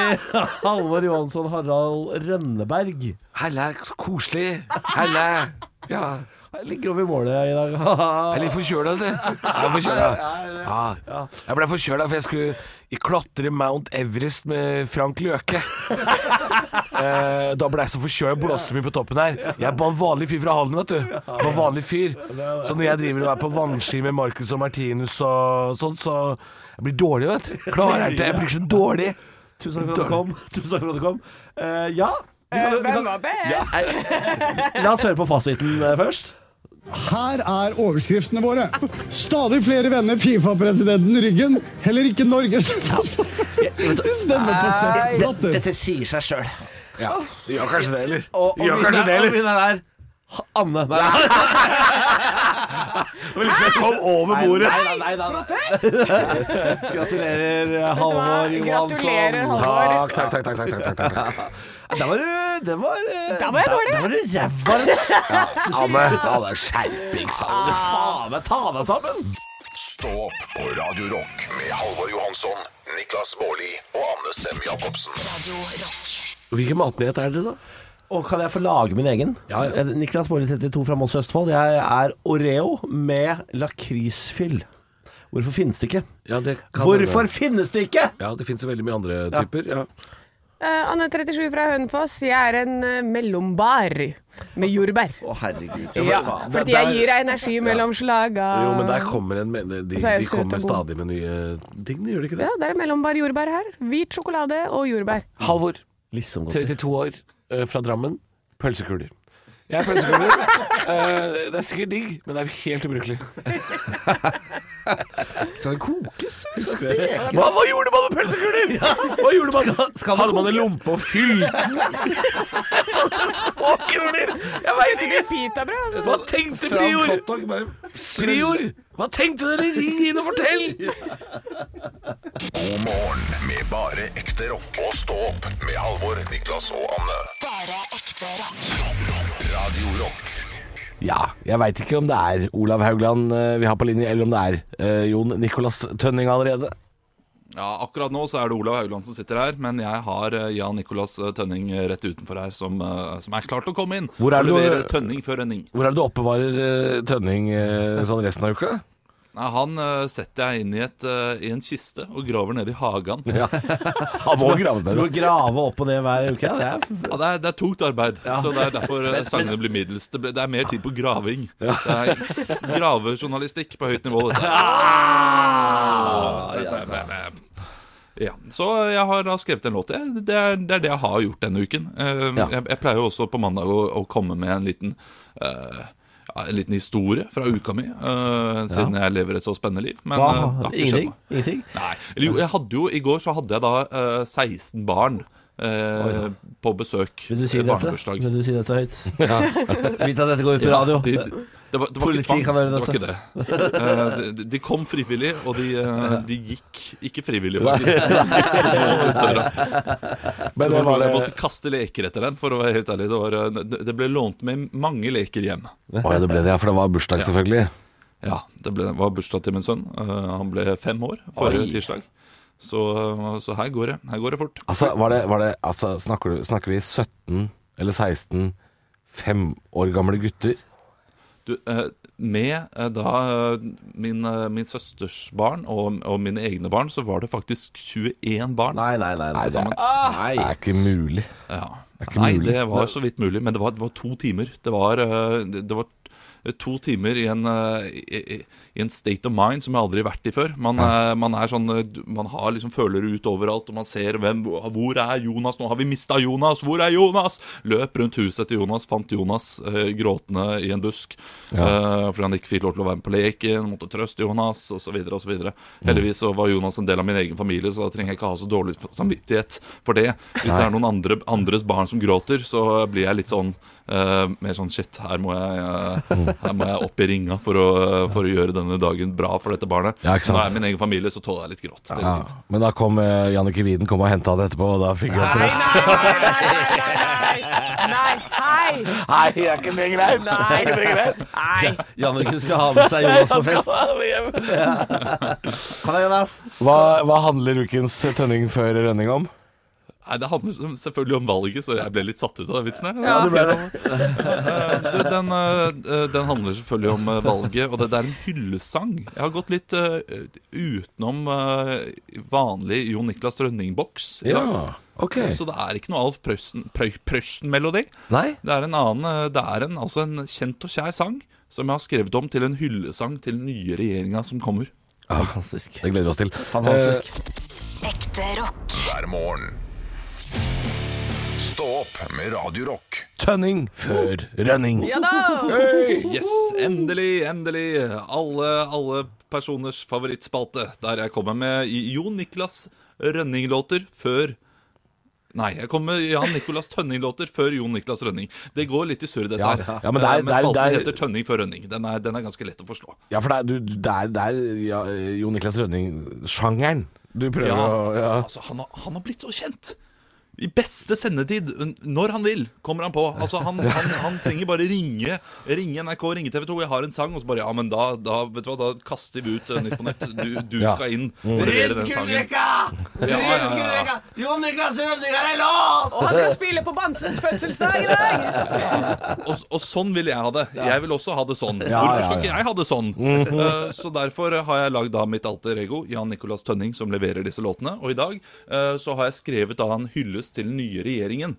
Halvor Johansson Harald Rønneberg. Helle, så koselig. Helle. Ja. Jeg ligger over målet i dag. Jeg er litt forkjøla, altså. Jeg er forkjøla. Ja. Jeg ble forkjøla for jeg skulle i- klatre Mount Everest med Frank Løke. Eh, da ble jeg så forkjøla, blåste mye på toppen her. Jeg er bare en vanlig fyr fra Halden, vet du. Jeg er Bare en vanlig fyr. Så når jeg driver og er på vannski med Marcus og Martinus og sånn, så jeg blir dårlig, vet du. Klarer jeg det? Jeg blir så dårlig. Tusen takk for at du kom. Tusen takk for at du kom. Eh, ja. Vi kan- vi kan- Hvem var best? Ja, eh, La oss høre på fasiten eh, først. Her er overskriftene våre. Stadig flere vender Fifa-presidenten ryggen. Heller ikke Norges fotballforbund vil stemme på Sepp Blatter. sier seg sjøl. Ja, gjør kanskje det, eller? Og, og, Gjør kanskje vinneren- og det, eller? vinneren er Ha- Anne. Nei, nei, Kom over nei, bordet. nei, nei, nei. Gratulerer, eh, Halvor hva? Johansson. Gratulerer, Halvor. Takk, takk, takk. takk, takk, takk, takk, takk. Der var du Der var, eh, Der var jeg dårlig. Der var du ræva. Anne, Anne skjerpings, Ah. Faen Anne. meg, ta deg sammen! Stå opp på Radio Rock med Halvor Johansson, Niklas Baarli og Anne Sem Jacobsen. Radio Rock. Hvilken matnyhet er det, da? Og kan jeg få lage min egen? Ja, ja. Eh, Niklas Baarli 32 fra Moss Østfold. Jeg er Oreo med lakrisfyll. Hvorfor finnes det ikke? Ja, det kan Hvorfor finnes det ikke?! Ja, det finnes jo veldig mye andre typer. Ja. Eh, Anne 37 fra Hønefoss, jeg er en eh, mellombar med jordbær. Å, herregud. Ja, faen. fordi Der- jeg gir deg energi mellom slaga. Jo, men der kommer en men- De, Så er jeg de søt Um, kommer og god. stadig med nye ting, de gjør de ikke det? Ja, det er mellombar jordbær her. Hvit sjokolade og jordbær. Halvor, Liksom godt. 32 år, eh, fra Drammen. Pølsekuler. Jeg er pølsekuler. Eh, det er sikkert digg, men det er helt ubrukelig. Skal det kokes, eller skal det stekes? Hva, hva gjorde man med pølsekuler?! Hva gjorde man? skal det Hadde man en kokes? lompe og fyll? Sånne små kuler! Jeg veit ikke! Pitabrød, altså. Hva tenkte prior? hotdog, bare Prior! Hva tenkte dere? Ring inn og fortell! God morgen med bare ekte rock. Og stå opp med Halvor, Niklas og Anne. Bare ekte rock. Radio Rock Ja, jeg veit ikke om det er Olav Haugland eh, vi har på linje, eller om det er eh, Jon Nicolas Tønning allerede. Ja, akkurat nå så er det Olav Haugland som sitter her, men jeg har eh, Jan Nicolas eh, Tønning eh, rett utenfor her, som, eh, som er klar til å komme inn. Hvor er Og du- levere Tønning før Rønning. Hvor er det du oppbevarer eh, Tønning eh, sånn resten av uka? Nei, han eh, setter jeg inn i, et, eh, i en kiste og graver nede i hagen. Ja, Han må graves Du der. må grave opp og ned hver uke. ja, Det er f- det, er, det er tungt arbeid, så det er derfor eh, sangene blir middels. Det, ble, det er mer tid på graving. Det er gravejournalistikk på høyt nivå, dette. Ja, så jeg har da skrevet en låt. Jeg- Det er det, er det jeg har gjort denne uken. Eh, Ja. Jeg, jeg pleier jo også på mandag å, å komme med en liten eh, ja, En liten historie fra uka mi, eh, siden jeg lever et så spennende liv. Men eh, det har ikke skjedd Ingenting? noe. Ingenting? Nei. Eller jo, jeg hadde jo I går så hadde jeg da eh, 16 barn eh, på besøk. Vil du si eh, dette? barnebursdag. Vil du si dette høyt? Ja. Vit at dette går ut på Ja, radio. de- de- det var, det var Politi ikke tvang, kan høre det var ikke dette. det. Eh, de, de kom frivillig, og de, eh, de gikk ikke frivillig, faktisk. Nei. Døra. Men det var eh, Jeg måtte- Jeg det- måtte kaste leker etter den, for å være helt ærlig. Det, var, eh, det ble lånt med mange leker hjem. Å ja, det ble det, ja, for det var bursdag, Ja. selvfølgelig. Ja, det ble, var bursdag til min sønn. Eh, han ble fem år forrige Oi. tirsdag. Så, eh, så her går det. Her går det fort. Altså, var det, var det altså, snakker, du, snakker vi 17 eller 16 fem år gamle gutter? Du, eh, med eh, da eh, min, eh, min søsters barn og, og mine egne barn, så var det faktisk 21 barn. Nei, nei, nei. til sammen. Det er ikke mulig. Ja. Det er ikke Nei, mulig. det var så vidt mulig, men det var, det var to timer. Det var, eh, det det var to timer i en, eh, i, i- i en state of mind som jeg aldri har vært i før. Man, eh, man er sånn, eh, du- man har liksom følere ut overalt, og man ser hvem, hvor er Jonas nå? Har vi mista Jonas? Hvor er Jonas? Løp rundt huset til Jonas, fant Jonas eh, gråtende i en busk eh, fordi han ikke fikk lov til å være med på leken, måtte trøste Jonas osv. Heldigvis så var Jonas en del av min egen familie, så da trenger jeg ikke ha så dårlig samvittighet for det. Hvis det Nei. er noen andre, andres barn som gråter, så blir jeg litt sånn eh, mer sånn shit, her må jeg, Mm. eh, her må jeg opp i ringa for å, for å gjøre denne dagen bra for dette barnet. Ja, ikke sant. Nå er jeg min egen familie, så tåler jeg litt gråt. Det Ja. går fint. Men da kom eh, Jannicke Wieden kom og henta han etterpå, og da fikk han trøst. Nei, hei! Nei, er ikke det greit? Nei. Er ikke det greit? Nei. Jannicke skal ha med seg Jonas på fest. Kan jeg, Jonas? Hva, hva handler ukens tønning før rønning om? Nei, Det handler som- selvfølgelig om valget, så jeg ble litt satt ut av den vitsen. her. Ja, du ble det. Eh, du, den, eh, den handler selvfølgelig om eh, valget, og det, det er en hyllesang. Jeg har gått litt eh, utenom eh, vanlig Jon Niklas Rønning-boks i dag. Eh, ok. Så det er ikke noe Alf Prøysen- Prøy- Prøysen-melodi. Nei? Det er en annen eh, Det er en, altså en kjent og kjær sang som jeg har skrevet om til en hyllesang til den nye regjeringa som kommer. Fantastisk. Det gleder vi oss til. Fantastisk. Ekte rock. hver morgen. Stå opp med Radio Rock. Eh, Tønning før rønning. Ja da! Yes, endelig, endelig. Alle, alle personers favorittspalte, der jeg kommer med Jon Niklas Rønning-låter før Nei, jeg kommer med Jan Nicolas Tønning-låter før Jon Niklas Rønning. Det går litt i surr, dette Ja, her. ja, men det er- Eh, det er- spalten det er- heter Tønning før Rønning. Den er, den er ganske lett å forstå. Ja, for det er, du, det er, det er ja, Jon Niklas Rønning-sjangeren du prøver Ja, å ja. altså han har, han har blitt så kjent I beste sendetid n- Når han vil, kommer han på Altså han, han, han trenger bare ringe Ringe NRK, ringe TV2, jeg har en sang Og så bare, ja, men da, da, vet du hva Da kaster vi ut eh, nytt på nytt Du, du Ja. Mm. skal inn og levere den sangen ja, ja, ja. Jon Niklas Rønning er en låt! Og han skal spille på Bamses fødselsdag i dag! og, og sånn vil jeg ha det Jeg vil også ha det sånn Ja, Hvorfor skal ja, Mhm. ja. ikke jeg ha det sånn? Eh, så derfor har jeg lagd da mitt alter ego Jan Nicolas Tønning som leverer disse låtene Og i dag eh, så har jeg skrevet da en hyllest til den nye regjeringen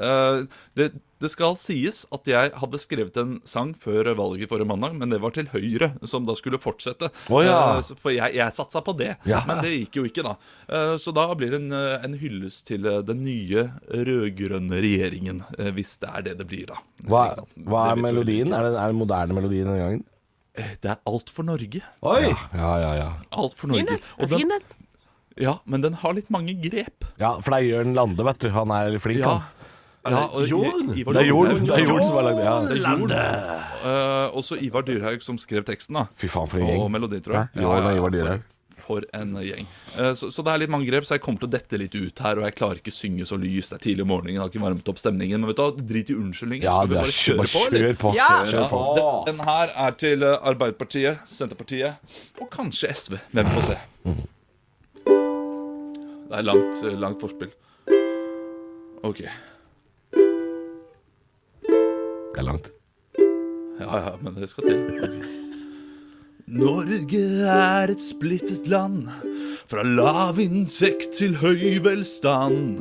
Eh, det, det skal sies at jeg hadde skrevet en sang før valget forrige mandag, men det var til Høyre, som da skulle fortsette. Å ja. Eh, så- for jeg, jeg satsa på det, Ja. men det gikk jo ikke, da. Eh, så da blir det en, eh, en hyllest til eh, den nye rød-grønne regjeringen, eh, hvis det er det det blir, da. hva, Ikke sant? hva er Det vet vi vel melodien? ikke. Er det, er det moderne melodien denne gangen? Det er Alt for Norge. Oi! Ja, ja, ja. Alt for Norge. Og den- Fin den. ja, men den har litt mange grep. Ja, For det er Jørn Lande, vet du. Han er flink, Ja. han. Ja, og Jorn? Ivar Det er Jorn, Lundberg- det er Jorn som har lagd det. Ja. Det er Jorn. Eh, også Ivar Dyrhaug som skrev teksten, da. Fy faen, for en Og gjeng. melodi, tror jeg. Hæ? Jorn og Ivar Dyrhaug. For, for en gjeng. Eh, Så, så det er litt mange grep, så jeg kommer til å dette litt ut her. Og jeg klarer ikke å synge så lyst. Det er tidlig om morgenen, jeg har ikke varmet opp stemningen. Men vet du hva, drit i unnskyldninger. Ja, skal du vi er bare kjøre på, kjør eller? på. Ja. Kjør på. Den, den her er til eh, Arbeiderpartiet, Senterpartiet og kanskje SV. Hvem får se. Det er langt, eh, langt forspill. OK. Det er langt. Ja, ja, men det skal til. Norge er et splittet land, fra lav inntekt til høy velstand.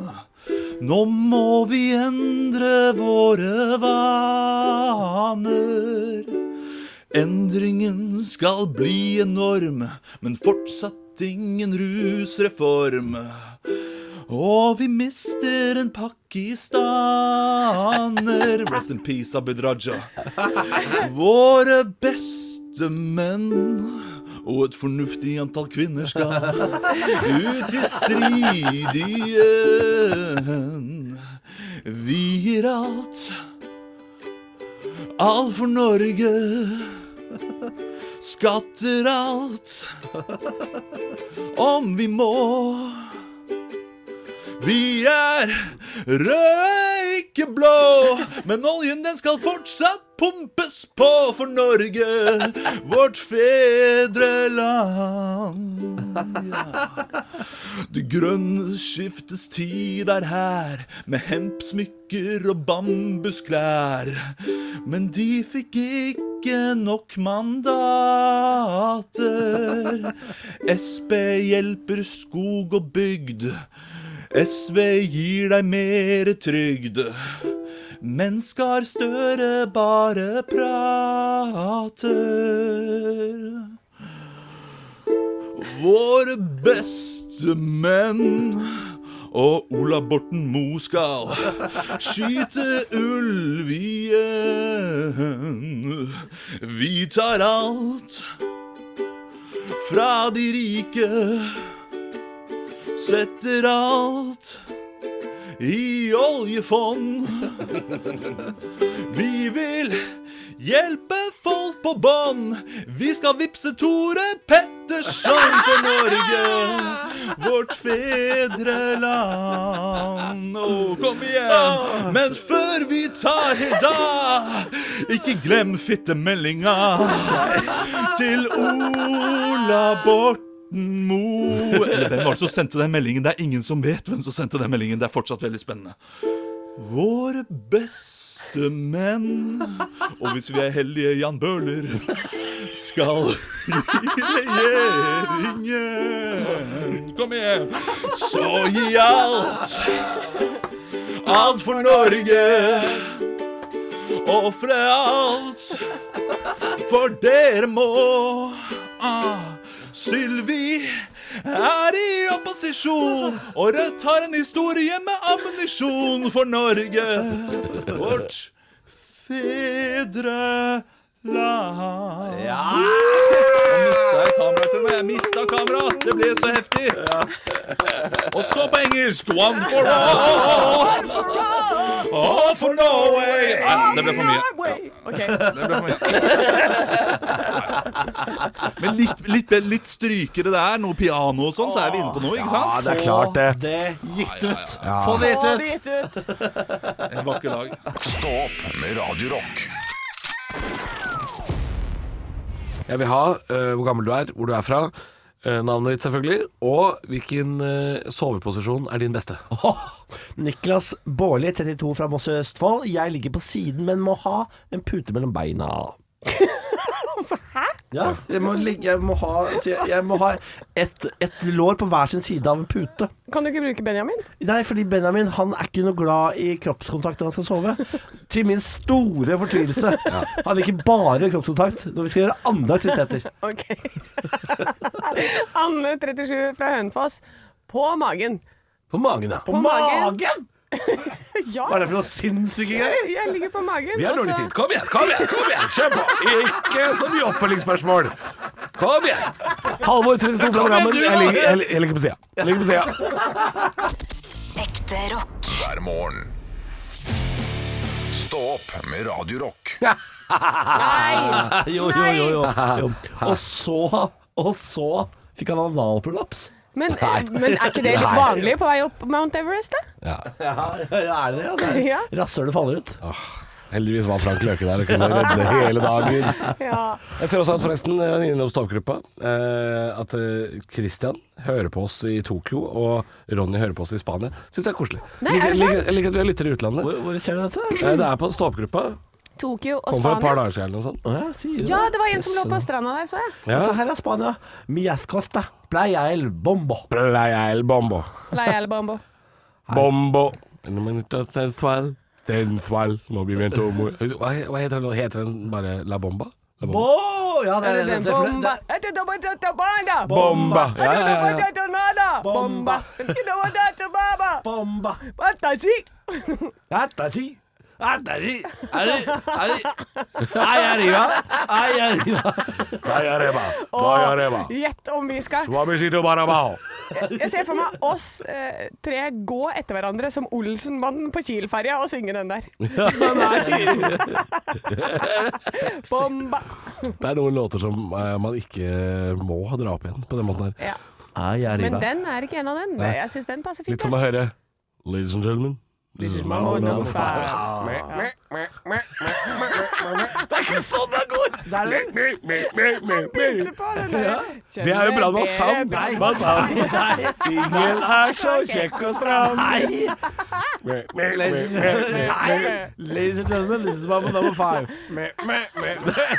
Nå må vi endre våre vaner. Endringen skal bli enorm, men fortsatt ingen rusreform. Og vi mister en pakistaner. Rest in peace, Abid Raja. Våre beste menn og et fornuftig antall kvinner skal ut i strid igjen. Vi gir alt, alt for Norge. Skatter alt, om vi må. Vi er røykeblå, men oljen den skal fortsatt pumpes på for Norge, vårt fedreland. Ja. Det grønne skiftes tid er her, med hempsmykker og bambusklær. Men de fikk ikke nok mandater. SB hjelper skog og bygd. SV gir deg mere trygd. Men Skar Støre bare prater. Våre beste menn og Ola Borten Moe skal skyte ulv igjen. Vi tar alt fra de rike, setter alt i oljefond. Vi vil hjelpe folk på bånn. Vi skal vippse Tore Petterson for Norge, vårt fedreland. Å, kom igjen! Men før vi tar helt av, ikke glem fittemeldinga til Ola Borten. Mo Eller hvem var det som sendte den meldingen? Det er ingen som vet hvem som sendte den meldingen. Det er fortsatt veldig spennende. Våre beste menn Og hvis vi er heldige, Jan Bøhler Skal i regjeringen Kom igjen Så gi alt Alt for Norge Offre alt For dere må ah. Sylvi er i opposisjon, og Rødt har en historie med ammunisjon for Norge. Vårt fedreland. Ja! Jeg mista kameraet til meg. Jeg mista kameraet. Det ble så heftig. Og så på engelsk One for all. All for Norway. Nei, det ble for mye. Det ble for mye. Men litt, litt, litt strykere der, noe piano og sånn, så er vi inne på noe, ikke sant? Ja, det er klart det. Det gitt ut. Få det gitt ut. En vakker dag. Stå opp med Radio Rock. Jeg vil ha eh, hvor gammel du er, hvor du er fra, eh, navnet ditt selvfølgelig, og hvilken eh, soveposisjon er din beste. Niklas Baarli, 32 fra Moss i Østfold. Jeg ligger på siden, men må ha en pute mellom beina. Ja, jeg må, ligge, jeg må ha, så jeg, jeg må ha et, et lår på hver sin side av en pute. Kan du ikke bruke Benjamin? Nei, fordi Benjamin han er ikke noe glad i kroppskontakt når han skal sove. Til min store fortvilelse. Han liker bare kroppskontakt når vi skal gjøre andre aktiviteter. Ok. Anne 37 fra Hønefoss. På magen. På magen, ja. På magen. ja. Hva er det for noe sinnssyke greier? Jeg ligger på magen. altså. Vi har og dårlig så- tid. Kom igjen, kom igjen! kom igjen Kjør på! Ikke så mye oppfølgingsspørsmål. Kom igjen! Halvor 32 fra Kom igjen, Drammen. du, da! Jeg ligger- jeg- jeg ligger på sida. Jeg ligger på sida. Ekte rock. hver morgen. Stå opp med Radio Rock. Nei. Jo, jo, jo, jo. jo. Og så, og så fikk han analprolaps. Men, men er ikke det litt Nei. vanlig på vei opp Mount Everest, da? Ja, ja, er det det? Ja, det Ja. er- Rasshølet faller ut. Heldigvis var Frank Løke der og kunne redde hele dagen. Ja. Jeg ser også at forresten eh, innom stavgruppa eh, at eh, Christian hører på oss i Tokyo, og Ronny hører på oss i Spania. Syns jeg er koselig. Nei, er det Jeg liker- sant? Jeg liker at vi har lyttere i utlandet. Hvor, hvor ser du dette? Eh, Det er på ståoppgruppa. Tokyo og Kom for et Spania. par dager siden eller noe sånt. Å, ja, sier du Ja, det var en som lå på stranda der, så jeg. Ja. Så her er Spania. Miascosta, playa el bombo. Playa el bombo. Leia eller Bambo. Bombo. Momento sensual. Sensual. Movimento mo- Hva hva heter den? nå? Heter den bare La Bomba? La Bo! Bomba. Ja, det Er er det det. den det, er for- bomba? det Er det bomba? Er det bomba? Bomba. Ja, Er det ja, ja. bomba? Bomba. Er det bomba? bomba. Fantasi. Dette, si. Nei, det er de- er de- er de- Nei, jeg riva. Nei, jeg riva. Nei, jeg reba. Nei, jeg reba. Og gjett om vi skal Swabishito barabao. Jeg ser for meg oss eh, tre gå etter hverandre som Olsenmannen på Kiel-ferja og synge den der. Bomba! Det er noen låter som eh, man ikke må dra opp igjen på den måten her. Ja. Nei, jeg Men riva. den er ikke en av dem. Nei. Jeg syns den passer fint. Litt som å høre Ladies and gentlemen, this is my own number five. Ja. Det er ikke sånn det går! Han begynte på den der. Det er jo bra med sang. Nei, Med sang. nei. Ingen er så kjekk og stram. Nei. Ladies and gentlemen- Ladies and gentlemen, this is my own number five.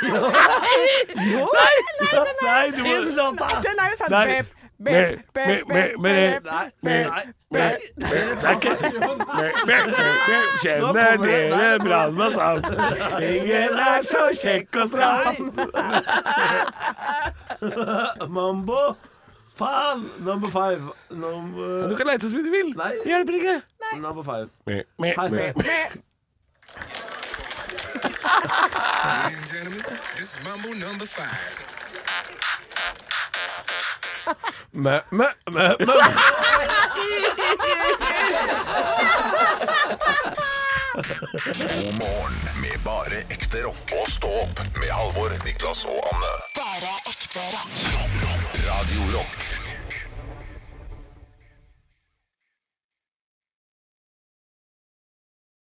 Jo. Nei, du må Den er jo sånn Nei. bep, Mer, bep, mer, bep, mer, mer. bep, bep, Mer, bep. mer, mer. Det er ikke Kjenner dere Brannmann Sand? Ingen er så kjekk og stram. Mambo. Faen! Number five. Number... Du kan leite så mye du vil. Nei. Hjelper ikke. Number five. Meh, meh, Her. meh. Ladies and gentlemen, this is Mumble number five. Meh, meh, meh, meh. God morgen med bare ekte rock. Og stå opp med Halvor, Niklas og Anne. Bare ekte rock. Radio Rock.